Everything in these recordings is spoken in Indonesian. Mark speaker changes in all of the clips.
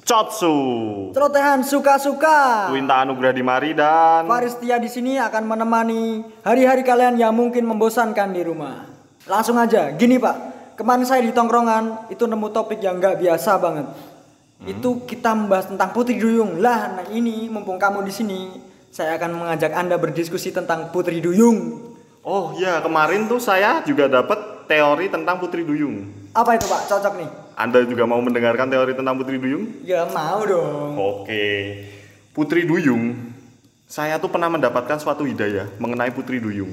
Speaker 1: Chotsu
Speaker 2: Celotehan suka-suka.
Speaker 1: Winta Anugrah Dimari dan
Speaker 2: Faristia di sini akan menemani hari-hari kalian yang mungkin membosankan di rumah. Langsung aja, gini Pak. Kemarin saya di tongkrongan itu nemu topik yang nggak biasa banget. Itu kita membahas tentang Putri Duyung. Lah, nah ini mumpung kamu di sini, saya akan mengajak Anda berdiskusi tentang Putri Duyung.
Speaker 1: Oh ya kemarin tuh saya juga dapat teori tentang Putri Duyung
Speaker 2: Apa itu Pak? Cocok nih.
Speaker 1: Anda juga mau mendengarkan teori tentang Putri Duyung?
Speaker 2: Ya mau dong.
Speaker 1: Oke, Putri Duyung. Saya tuh pernah mendapatkan suatu hidayah mengenai Putri Duyung.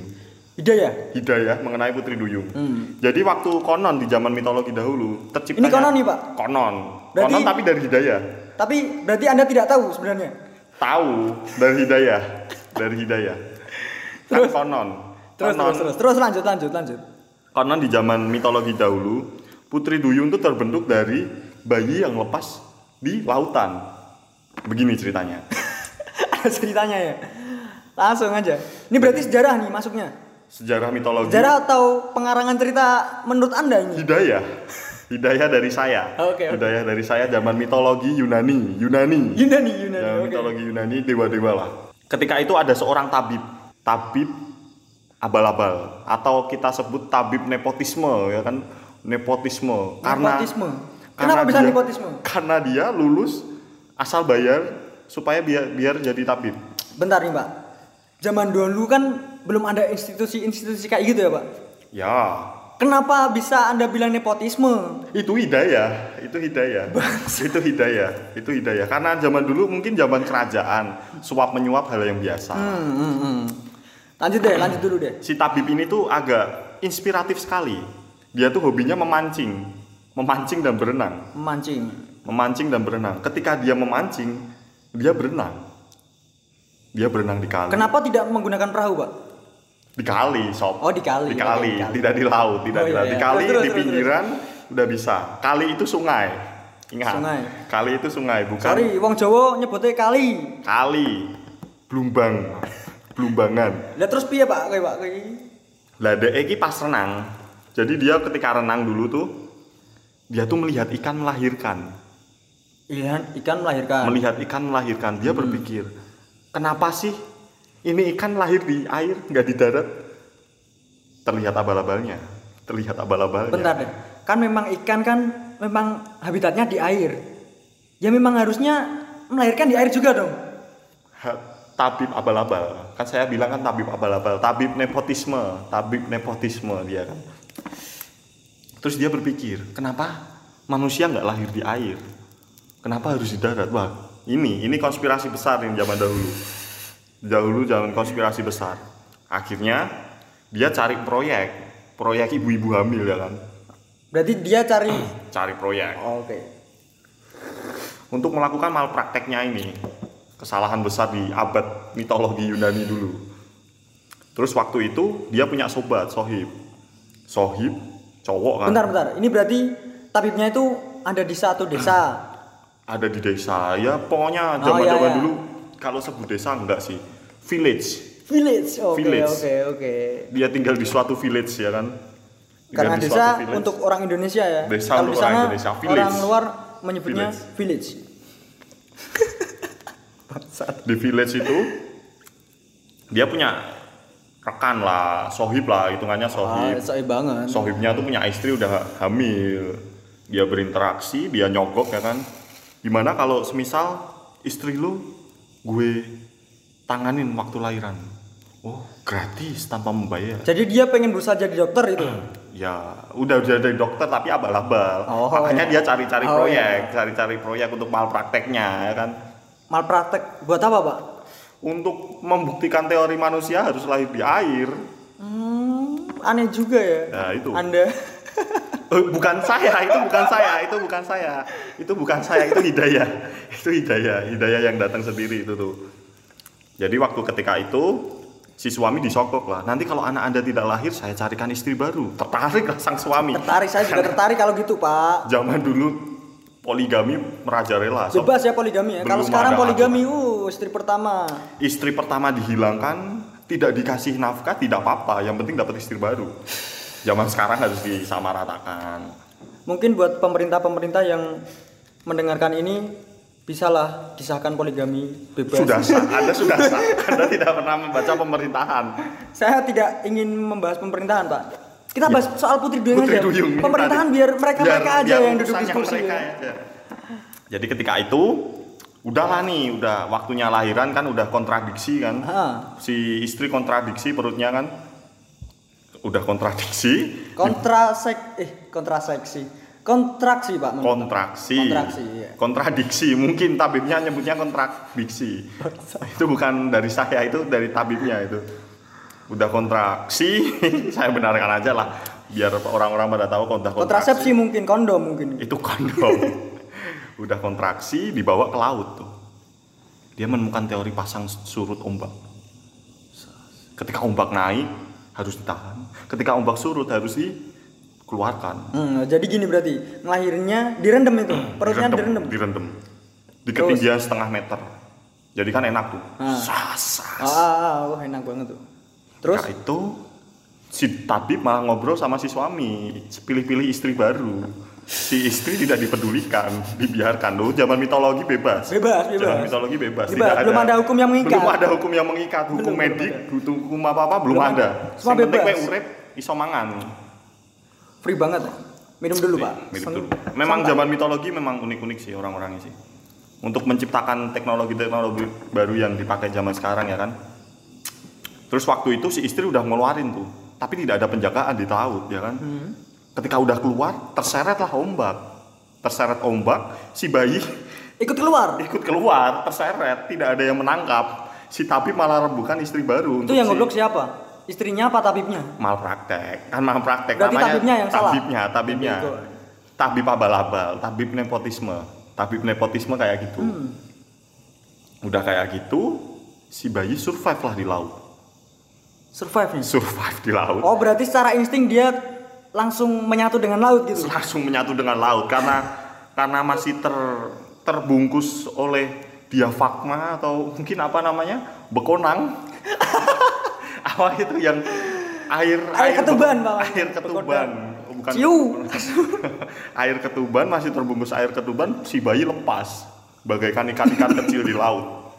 Speaker 2: Hidayah.
Speaker 1: Hidayah mengenai Putri Duyung. Jadi waktu konon di zaman mitologi dahulu tercipta.
Speaker 2: Hmm. Ini konon nih, Pak?
Speaker 1: Konon.
Speaker 2: Berarti-
Speaker 1: Konon tapi dari hidayah.
Speaker 2: Tapi berarti Anda tidak tahu sebenarnya.
Speaker 1: Tahu dari hidayah, dari hidayah. Kan
Speaker 2: Terus?
Speaker 1: konon.
Speaker 2: Terus
Speaker 1: konon,
Speaker 2: terus terus terus lanjut lanjut lanjut.
Speaker 1: konon di zaman mitologi dahulu Putri Duyung tuh terbentuk dari bayi yang lepas di lautan. Begini ceritanya.
Speaker 2: Ada ceritanya ya. Langsung aja. Ini berarti sejarah nih masuknya.
Speaker 1: Sejarah mitologi.
Speaker 2: Sejarah atau pengarangan cerita menurut Anda ini?
Speaker 1: Hidayah. Hidayah dari saya.
Speaker 2: Oke, oke.
Speaker 1: Hidayah dari saya zaman mitologi Yunani, Yunani.
Speaker 2: Yunani Yunani.
Speaker 1: Zaman
Speaker 2: oke.
Speaker 1: mitologi Yunani dewa-dewa lah. Ketika itu ada seorang tabib, tabib abal-abal atau kita sebut tabib nepotisme ya kan nepotisme karena
Speaker 2: Nepotisme.
Speaker 1: karena
Speaker 2: Kenapa bisa
Speaker 1: dia-
Speaker 2: nepotisme?
Speaker 1: Karena dia lulus asal bayar supaya biar biar jadi tabib.
Speaker 2: Bentar nih, Pak. Zaman dulu kan belum ada institusi-institusi kayak gitu ya, Pak.
Speaker 1: Ya,
Speaker 2: Kenapa bisa Anda bilang nepotisme?
Speaker 1: itu hidayah itu hidayah itu hidayah itu hidayah karena zaman dulu mungkin zaman kerajaan suap menyuap hal yang biasa
Speaker 2: Hmm, hmm, hmm. Lanjut deh, lanjut dulu deh.
Speaker 1: si tabib ini tuh agak inspiratif sekali dia tuh hobinya memancing memancing dan berenang
Speaker 2: Memancing.
Speaker 1: memancing dan berenang ketika dia memancing dia berenang dia berenang di kali
Speaker 2: Kenapa tidak menggunakan perahu, Pak?
Speaker 1: di kali sob
Speaker 2: Oh, di
Speaker 1: di
Speaker 2: kali.
Speaker 1: kali
Speaker 2: Oke, di kali.
Speaker 1: tidak di laut tidak
Speaker 2: Oh,
Speaker 1: di
Speaker 2: iya,
Speaker 1: laut
Speaker 2: iya.
Speaker 1: di kali
Speaker 2: Terus, terus,
Speaker 1: di
Speaker 2: terus,
Speaker 1: pinggiran udah bisa kali itu sungai ingat
Speaker 2: Sungai.
Speaker 1: kali itu sungai bukan
Speaker 2: Sorry, wong Jawa nyebutnya kali.
Speaker 1: kali blumbang blumbangan
Speaker 2: Lah terus piye, Pak? Kayak Pak, kayak
Speaker 1: lah dek iki pas renang jadi dia ketika renang dulu tuh dia tuh melihat ikan melahirkan
Speaker 2: ikan Iya, ikan melahirkan.
Speaker 1: melihat ikan melahirkan
Speaker 2: Hmm.
Speaker 1: dia berpikir kenapa sih ini ikan lahir di air nggak di darat terlihat abal-abalnya terlihat abal-abalnya
Speaker 2: Bentar deh. Kan memang ikan kan memang habitatnya di air. Ya memang harusnya melahirkan di air juga dong.
Speaker 1: Ha- tabib abal-abal kan saya bilang kan tabib abal-abal tabib nepotisme tabib nepotisme dia kan terus dia berpikir kenapa manusia nggak lahir di air kenapa harus di darat wah ini ini konspirasi besar yang zaman dahulu dahulu zaman konspirasi besar akhirnya dia cari proyek proyek ibu-ibu hamil ya kan
Speaker 2: Berarti dia cari
Speaker 1: cari proyek
Speaker 2: Oke.
Speaker 1: untuk melakukan malprakteknya ini kesalahan besar di abad mitologi Yunani dulu terus waktu itu dia punya sobat sohib sohib cowok kan
Speaker 2: Bentar bentar. Ini berarti tabibnya itu ada di satu desa.
Speaker 1: ada di desa ya pokoknya
Speaker 2: Oh,
Speaker 1: zaman zaman
Speaker 2: iya, iya.
Speaker 1: dulu kalau sebut desa enggak sih village
Speaker 2: Village. Oke
Speaker 1: Village.
Speaker 2: oke oke.
Speaker 1: dia tinggal di suatu village ya kan Tinggal
Speaker 2: Karena
Speaker 1: di suatu
Speaker 2: desa
Speaker 1: village.
Speaker 2: untuk orang Indonesia ya.
Speaker 1: Desa
Speaker 2: Kalau
Speaker 1: untuk
Speaker 2: di sana
Speaker 1: orang Indonesia. Village.
Speaker 2: orang luar menyebutnya village.
Speaker 1: di village itu dia punya rekan lah sohib lah hitungannya
Speaker 2: Ah,
Speaker 1: sohib
Speaker 2: saya banget.
Speaker 1: sohibnya tuh punya istri udah hamil dia berinteraksi dia nyogok ya kan gimana kalau semisal istri lu gue tanganin waktu lahiran oh gratis tanpa membayar
Speaker 2: Jadi dia pengen berusaha jadi dokter itu.
Speaker 1: ya udah udah dari dokter tapi abal-abal
Speaker 2: Oh.
Speaker 1: makanya dia cari-cari
Speaker 2: Oh,
Speaker 1: proyek cari-cari proyek untuk malprakteknya ya kan
Speaker 2: Malpraktek buat apa, Pak?
Speaker 1: untuk membuktikan teori manusia harus lahir di air
Speaker 2: Hmm, aneh juga ya.
Speaker 1: Nah, itu.
Speaker 2: Anda
Speaker 1: Eh, bukan saya itu bukan saya itu bukan saya itu bukan saya itu hidayah itu hidayah hidayah yang datang sendiri itu tuh jadi waktu ketika itu si suami disokok lah nanti kalau anak anda tidak lahir saya carikan istri baru tertarik lah sang suami
Speaker 2: tertarik saya juga tertarik kalau gitu, Pak.
Speaker 1: zaman dulu poligami merajalela Sob.
Speaker 2: Bebas ya poligami ya. Kalau
Speaker 1: Belum
Speaker 2: sekarang
Speaker 1: ada
Speaker 2: poligami, uh, istri pertama.
Speaker 1: istri pertama dihilangkan tidak dikasih nafkah tidak apa-apa yang penting dapat istri baru zaman sekarang harus disamaratakan
Speaker 2: Mungkin buat pemerintah-pemerintah yang mendengarkan ini bisalah kisahkan poligami bebas.
Speaker 1: Sudah sah, Anda sudah sah. Anda tidak pernah membaca pemerintahan.
Speaker 2: Saya tidak ingin membahas pemerintahan, Pak. Kita bahas soal Putri
Speaker 1: Iya.
Speaker 2: Duyung
Speaker 1: Putri
Speaker 2: aja.
Speaker 1: Duyung ini
Speaker 2: ya, pemerintahan
Speaker 1: tadi.
Speaker 2: biar mereka mereka
Speaker 1: Biar-
Speaker 2: aja
Speaker 1: biar
Speaker 2: yang duduk
Speaker 1: urusan yang
Speaker 2: diskusi.
Speaker 1: mereka
Speaker 2: ya.
Speaker 1: aja. Jadi ketika itu udahlah nih, udah waktunya lahiran kan udah kontradiksi kan.
Speaker 2: Ah.
Speaker 1: Si istri kontradiksi perutnya kan udah kontradiksi,
Speaker 2: Kontrasek eh kontraseksi. Kontraksi, Pak. menurut
Speaker 1: kontraksi.
Speaker 2: Kontraksi, iya.
Speaker 1: Kontradiksi, mungkin tabibnya nyebutnya kontradiksi. itu bukan dari saya itu dari tabibnya itu. Udah kontraksi, saya benarkan aja lah biar orang-orang pada tahu kontra kontraksi. Iya.
Speaker 2: Kontrasepsi mungkin kondom mungkin.
Speaker 1: itu kondom udah kontraksi dibawa ke laut tuh dia menemukan teori pasang surut ombak ketika ombak naik harus ditahan ketika ombak surut harus dikeluarkan
Speaker 2: Hmm, jadi gini berarti ngelahirnya direndam itu, perutnya direndam.
Speaker 1: direndam di ketinggian setengah meter jadi kan enak tuh
Speaker 2: Ah.
Speaker 1: sas sas.
Speaker 2: Ah, ah, ah, wah enak banget tuh. Terus
Speaker 1: Ketika itu si tabib malah ngobrol sama si suami pilih-pilih istri baru si istri tidak dipedulikan dibiarkan loh zaman mitologi bebas
Speaker 2: bebas,
Speaker 1: Jalan
Speaker 2: bebas.
Speaker 1: mitologi bebas.
Speaker 2: Bebas, Iya. belum ada hukum yang mengikat.
Speaker 1: Belum ada hukum yang mengikat, hukum
Speaker 2: Belum, belum
Speaker 1: medik, hukum apa-apa belum,
Speaker 2: Belum
Speaker 1: ada.
Speaker 2: ada. Semua
Speaker 1: Yang penting
Speaker 2: bebas.
Speaker 1: kowe urip iso mangan.
Speaker 2: Free banget. ya. Minum dulu, Pak.
Speaker 1: Mirip
Speaker 2: Sen-
Speaker 1: dulu. Memang
Speaker 2: santai.
Speaker 1: zaman mitologi memang unik-unik sih orang-orangnya sih. Untuk menciptakan teknologi-teknologi baru yang dipakai zaman sekarang ya kan. Terus waktu itu si istri udah ngeluarin tuh, tapi tidak ada penjagaan di laut ya kan.
Speaker 2: Hmm.
Speaker 1: Ketika udah keluar, terseretlah ombak. Terseret ombak, si bayi
Speaker 2: ikut keluar.
Speaker 1: ikut keluar terseret tidak ada yang menangkap si tapi malah rembukan istri baru
Speaker 2: Itu
Speaker 1: untuk
Speaker 2: yang
Speaker 1: si-
Speaker 2: goblok siapa? Istrinya apa tabibnya?
Speaker 1: malpraktek kan malpraktek
Speaker 2: Berarti
Speaker 1: namanya
Speaker 2: tabibnya yang salah?
Speaker 1: tabibnya tabibnya
Speaker 2: Bego.
Speaker 1: tabib abal-abal tabib nepotisme tabib nepotisme kayak gitu
Speaker 2: Hmm.
Speaker 1: udah kayak gitu si bayi survive lah di laut
Speaker 2: Survive nih.
Speaker 1: survive di laut
Speaker 2: Oh, berarti secara insting dia langsung menyatu dengan laut gitu.
Speaker 1: langsung menyatu dengan laut karena karena masih ter terbungkus oleh diafragma atau mungkin apa namanya bekonang apa itu yang air
Speaker 2: Air ketuban, Pak.
Speaker 1: air ketuban bukan
Speaker 2: Ciu.
Speaker 1: air ketuban masih terbungkus air ketuban si bayi lepas bagaikan ikan-ikan kecil di laut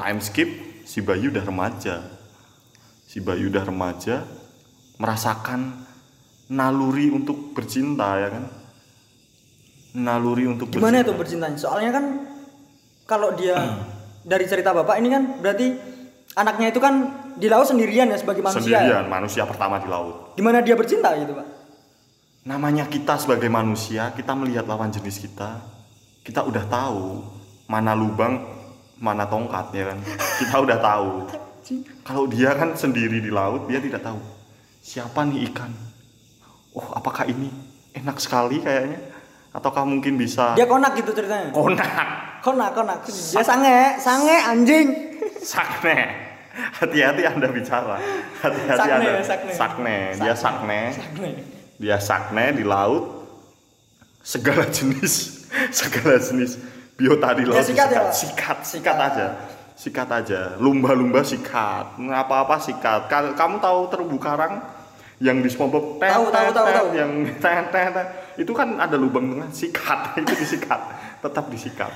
Speaker 1: time skip si bayi udah remaja si bayi udah remaja merasakan naluri untuk bercinta ya kan naluri untuk
Speaker 2: Gimana itu
Speaker 1: bercinta.
Speaker 2: bercintanya? Soalnya kan kalau dia
Speaker 1: Hmm.
Speaker 2: dari cerita Bapak ini kan berarti anaknya itu kan di laut sendirian ya sebagai manusia. ya?
Speaker 1: sendirian manusia pertama di laut
Speaker 2: Gimana dia bercinta gitu, Pak?
Speaker 1: namanya kita sebagai manusia kita melihat lawan jenis kita kita udah tahu mana lubang mana tongkat ya kan kita udah tahu kalau dia kan sendiri di laut dia tidak tahu siapa nih ikan oh apakah ini enak sekali kayaknya ataukah mungkin bisa
Speaker 2: Dia konak gitu ceritanya.
Speaker 1: konak
Speaker 2: Konak, konak. Dia sange, sange anjing.
Speaker 1: sakne hati-hati anda bicara hati-hati
Speaker 2: Sakne,
Speaker 1: anda
Speaker 2: sakne.
Speaker 1: sakne dia sakne
Speaker 2: Sange.
Speaker 1: dia sakne di laut segala jenis segala jenis biota di laut
Speaker 2: sikat
Speaker 1: disikat.
Speaker 2: ya, Pak?
Speaker 1: sikat sikat aja sikat aja lumba-lumba sikat apa-apa sikat Ka- kamu tahu terumbu karang yang di SpongeBob tet,
Speaker 2: Tahu,
Speaker 1: tet,
Speaker 2: tahu, tahu,
Speaker 1: tet,
Speaker 2: tahu.
Speaker 1: yang tet, tet, tet. itu kan ada lubang tengah sikat itu disikat tetap disikat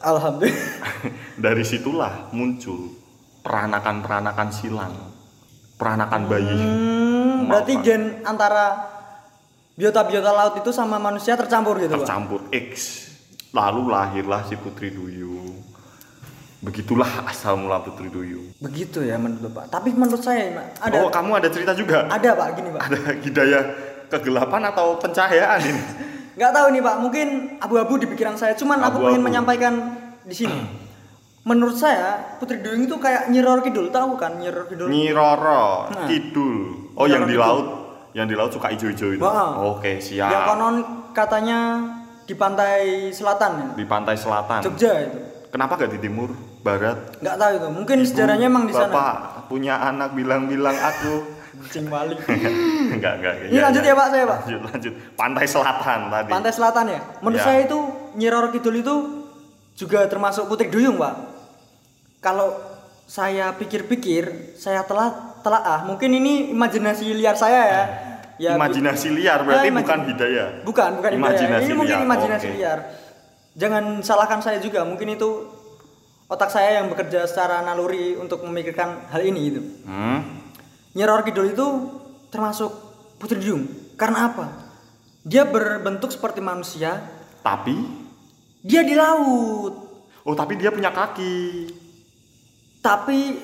Speaker 2: Alhamdulillah.
Speaker 1: dari situlah muncul peranakan-peranakan silang peranakan bayi
Speaker 2: Hmm, berarti
Speaker 1: Maaf, Pak.
Speaker 2: gen antara biota-biota laut itu sama manusia tercampur gitu, Pak.
Speaker 1: tercampur X lalu lahirlah si Putri Duyung begitulah asal mula Putri Duyung
Speaker 2: Begitu ya menurut Pak. Tapi menurut saya Pak, ada
Speaker 1: oh kamu ada cerita juga
Speaker 2: ada Pak gini, Pak.
Speaker 1: ada hidayah kegelapan atau pencahayaan ini
Speaker 2: Nggak tahu nih, Pak. Mungkin abu-abu di pikiran saya, cuman aku pengen
Speaker 1: Abu-abu.
Speaker 2: menyampaikan di sini. menurut saya Putri Duyung itu kayak Nyiror Kidul, tahu kan Nyiror Kidul?
Speaker 1: Iya. Nyiroro
Speaker 2: Nah.
Speaker 1: Kidul oh yang di
Speaker 2: Kidul.
Speaker 1: laut yang di laut suka hijau-hijau itu
Speaker 2: Wah.
Speaker 1: oke
Speaker 2: Yang
Speaker 1: siap
Speaker 2: konon katanya di pantai selatan ya.
Speaker 1: di pantai selatan
Speaker 2: Jogja itu.
Speaker 1: kenapa gak di timur barat
Speaker 2: Nggak tahu itu. Mungkin sejarahnya emang di sana.
Speaker 1: bapak punya anak bilang-bilang aku
Speaker 2: Kucing balik.
Speaker 1: enggak enggak Iya,
Speaker 2: Hmm. Ini lanjut ya, Pak, saya, Pak.
Speaker 1: lanjut lanjut pantai selatan tadi
Speaker 2: Pantai Selatan ya. Menurut
Speaker 1: Ya.
Speaker 2: saya itu Nyiroro Kidul itu juga termasuk Putri Duyung, Pak. Kalau saya pikir-pikir, saya telah telaah, mungkin ini imajinasi liar saya ya. Ya, bu-
Speaker 1: imajinasi liar berarti
Speaker 2: Ah, imajin-
Speaker 1: bukan hidayah
Speaker 2: Bukan, bukan imajinasi
Speaker 1: Imajinasi
Speaker 2: Ini mungkin
Speaker 1: liar,
Speaker 2: imajinasi
Speaker 1: oke.
Speaker 2: liar. jangan salahkan saya juga mungkin itu otak saya yang bekerja secara naluri untuk memikirkan hal ini gitu
Speaker 1: Hmm?
Speaker 2: Nyi Roro Kidul itu termasuk putri duyung karena apa dia berbentuk seperti manusia
Speaker 1: Tapi,
Speaker 2: dia di laut
Speaker 1: oh tapi dia punya kaki.
Speaker 2: tapi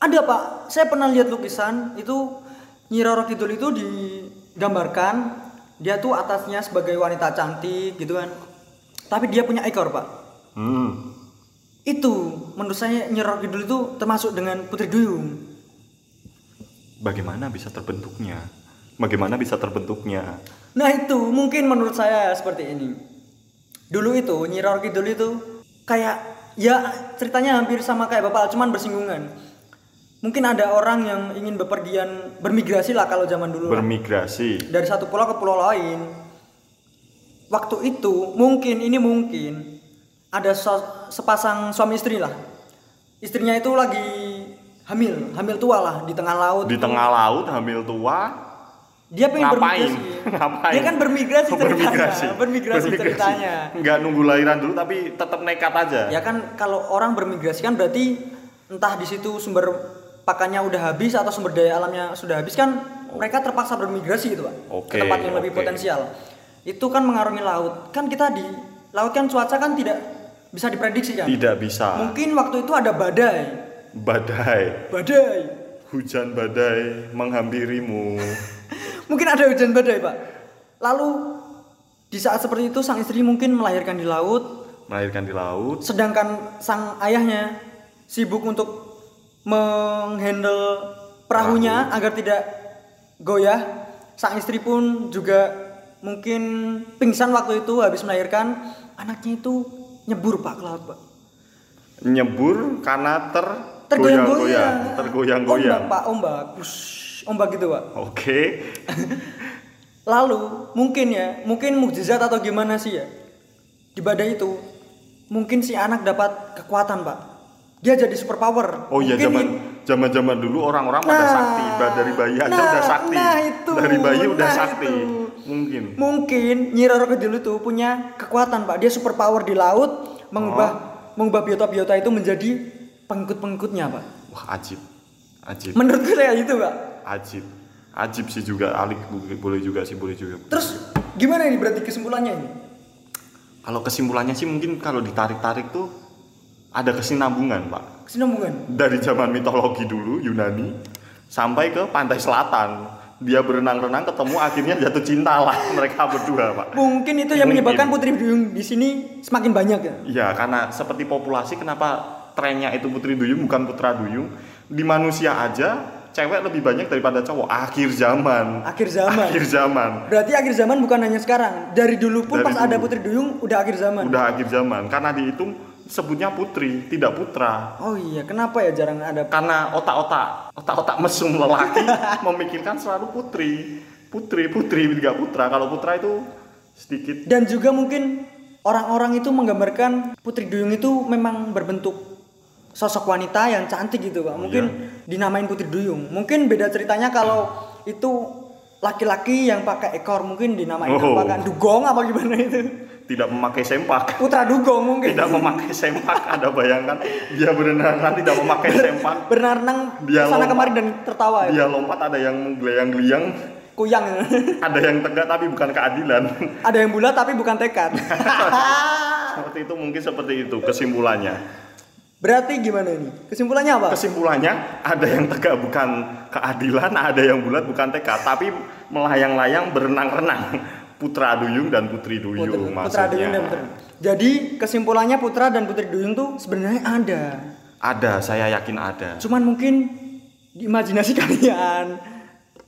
Speaker 2: ada pak saya pernah lihat lukisan itu Nyi Roro Kidul itu digambarkan dia tuh atasnya sebagai wanita cantik gitu kan tapi dia punya ekor pak
Speaker 1: Hmm.
Speaker 2: itu menurut saya Nyi Roro Kidul itu termasuk dengan Putri Duyung
Speaker 1: Bagaimana bisa terbentuknya? Bagaimana bisa terbentuknya?
Speaker 2: nah itu mungkin menurut saya seperti ini dulu itu Nyi Roro Kidul itu kayak ya ceritanya hampir sama kayak Bapak cuman bersinggungan mungkin ada orang yang ingin bepergian bermigrasi lah kalau zaman dulu lah.
Speaker 1: Bermigrasi.
Speaker 2: dari satu pulau ke pulau lain waktu itu mungkin ini mungkin ada so- sepasang suami istri lah istrinya itu lagi hamil hamil tua lah di tengah laut
Speaker 1: Di tengah laut hamil tua.
Speaker 2: dia pengen
Speaker 1: Ngapain?
Speaker 2: bermigrasi
Speaker 1: Ngapain? Oh,
Speaker 2: dia kan bermigrasi ceritanya
Speaker 1: Bermigrasi.
Speaker 2: bermigrasi ceritanya
Speaker 1: Nggak nunggu lahiran dulu tapi tetap nekat aja.
Speaker 2: ya kan kalau orang bermigrasi kan berarti entah di situ sumber pakannya udah habis atau sumber daya alamnya sudah habis kan mereka terpaksa bermigrasi gitu pak
Speaker 1: Oke,
Speaker 2: ke tempat yang lebih
Speaker 1: oke.
Speaker 2: potensial itu kan mengarungi laut kan kita di laut kan cuaca kan tidak bisa diprediksi kan
Speaker 1: Tidak bisa.
Speaker 2: mungkin waktu itu ada badai
Speaker 1: Badai.
Speaker 2: badai
Speaker 1: Hujan badai menghampirimu.
Speaker 2: mungkin ada hujan badai pak lalu di saat seperti itu sang istri mungkin melahirkan di laut
Speaker 1: Melahirkan di laut.
Speaker 2: sedangkan sang ayahnya sibuk untuk menghandle perahunya agar tidak goyah sang istri pun juga mungkin pingsan waktu itu habis melahirkan anaknya itu nyebur pak ke laut pak
Speaker 1: Nyebur karena ter
Speaker 2: tergoyang-goyang Oh,
Speaker 1: tergoyang-goyang.
Speaker 2: ombak pak ombak Wush, ombak gitu pak
Speaker 1: Oke.
Speaker 2: Lalu mungkin ya, mungkin mukjizat atau gimana sih ya? Di badai itu mungkin si anak dapat kekuatan, Pak. Dia jadi superpower.
Speaker 1: Oh iya
Speaker 2: Mungkin
Speaker 1: zaman
Speaker 2: ini-
Speaker 1: zaman zaman dulu orang-orang pada
Speaker 2: Nah,
Speaker 1: sakti, Ba- dari bayi aja
Speaker 2: nah,
Speaker 1: udah sakti,
Speaker 2: nah itu,
Speaker 1: dari bayi udah
Speaker 2: nah
Speaker 1: sakti,
Speaker 2: itu.
Speaker 1: mungkin.
Speaker 2: mungkin Nyi Roro Kidul itu punya kekuatan, Pak. Dia superpower di laut
Speaker 1: Ah.
Speaker 2: mengubah mengubah biota-biota itu menjadi pengikut-pengikutnya, Pak.
Speaker 1: Wah ajib, ajib,
Speaker 2: Menurutku kayak gitu, Pak.
Speaker 1: ajib, ajib sih juga, alik bu- boleh juga sih, boleh juga.
Speaker 2: Terus gimana ini berarti kesimpulannya ini?
Speaker 1: Kalau kesimpulannya sih mungkin kalau ditarik-tarik tuh ada kesinambungan pak,
Speaker 2: Kesinambungan.
Speaker 1: dari zaman mitologi dulu Yunani sampai ke pantai selatan, dia berenang-renang ketemu akhirnya jatuh cinta lah mereka berdua pak.
Speaker 2: Mungkin itu yang
Speaker 1: Mungkin.
Speaker 2: menyebabkan Putri Duyung di sini semakin banyak ya.
Speaker 1: Ya, karena seperti populasi kenapa trennya itu putri duyung bukan putra duyung? Di manusia aja cewek lebih banyak daripada cowok. Akhir zaman.
Speaker 2: Akhir zaman.
Speaker 1: Akhir zaman.
Speaker 2: Berarti akhir zaman bukan hanya sekarang. Dari dulu pun
Speaker 1: Dari
Speaker 2: pas ada
Speaker 1: dulu.
Speaker 2: Putri Duyung udah akhir zaman.
Speaker 1: Udah akhir zaman karena dihitung sebutnya putri, tidak putra.
Speaker 2: Oh iya, kenapa ya jarang ada?
Speaker 1: Karena otak-otak otak-otak mesum lelaki memikirkan selalu putri. Putri, putri, tidak putra. Kalau putra itu sedikit
Speaker 2: Dan juga mungkin orang-orang itu menggambarkan Putri Duyung itu memang berbentuk sosok wanita yang cantik gitu, Pak. Mungkin
Speaker 1: Iya.
Speaker 2: dinamain Putri Duyung. Mungkin beda ceritanya kalau itu laki-laki yang pakai ekor mungkin dinamain
Speaker 1: Oh.
Speaker 2: apa kan dugong apa gimana itu.
Speaker 1: tidak memakai sempak.
Speaker 2: Putra dugong mungkin.
Speaker 1: Tidak memakai sempak, ada bayangkan dia berenang tidak memakai sempak.
Speaker 2: Berenang
Speaker 1: Dia
Speaker 2: ke sana
Speaker 1: lompat.
Speaker 2: kemari dan tertawa ya.
Speaker 1: dia lompat ada yang geleyang-geleyang
Speaker 2: Kuyang.
Speaker 1: ada yang tegak tapi bukan keadilan
Speaker 2: ada yang bulat tapi bukan tekad.
Speaker 1: seperti itu mungkin seperti itu kesimpulannya
Speaker 2: Berarti gimana ini? Kesimpulannya apa?
Speaker 1: kesimpulannya ada yang tegak bukan keadilan ada yang bulat bukan tekad tapi melayang-layang berenang-renang putra duyung dan putri duyung
Speaker 2: Putra-
Speaker 1: maksudnya
Speaker 2: Putra Duyung dan Putri. Jadi kesimpulannya Putra dan Putri Duyung tuh sebenarnya ada.
Speaker 1: ada saya yakin ada
Speaker 2: Cuman mungkin di imajinasi kalian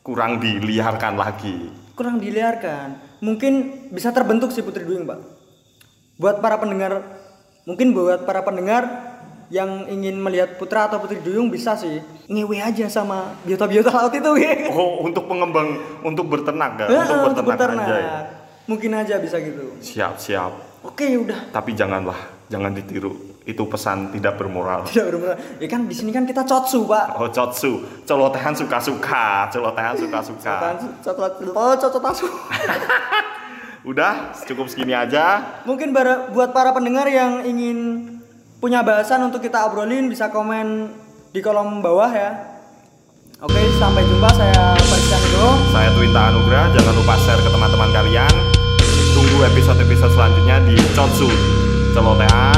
Speaker 1: kurang diliarkan lagi
Speaker 2: kurang diliarkan. Mungkin bisa terbentuk sih Putri Duyung, Pak. Buat para pendengar, mungkin buat para pendengar yang ingin melihat Putra atau Putri Duyung bisa sih ngewe aja sama biota-biota laut itu. ya.
Speaker 1: oh untuk pengembang untuk bertenaga
Speaker 2: Heeh,
Speaker 1: Oh, untuk ya. bertenaga anjay.
Speaker 2: Mungkin aja bisa gitu.
Speaker 1: siap siap
Speaker 2: Oke, udah.
Speaker 1: tapi janganlah jangan ditiru itu pesan tidak bermoral
Speaker 2: Tidak benar. Ya kan di sini kan kita cotsu, Pak.
Speaker 1: Oh, cotsu. Celotehan suka-suka, celotehan suka-suka.
Speaker 2: gitu. Cocotan- cocot- oh, cocot asu.
Speaker 1: Udah, cukup segini aja.
Speaker 2: Mungkin bara- buat para pendengar yang ingin punya bahasan untuk kita obrolin bisa komen di kolom bawah ya. Oke, sampai jumpa saya Christian Widodo.
Speaker 1: Saya Twinta Anugrah, jangan lupa share ke teman-teman kalian. Tunggu episode-episode selanjutnya di Chotsu Celotean.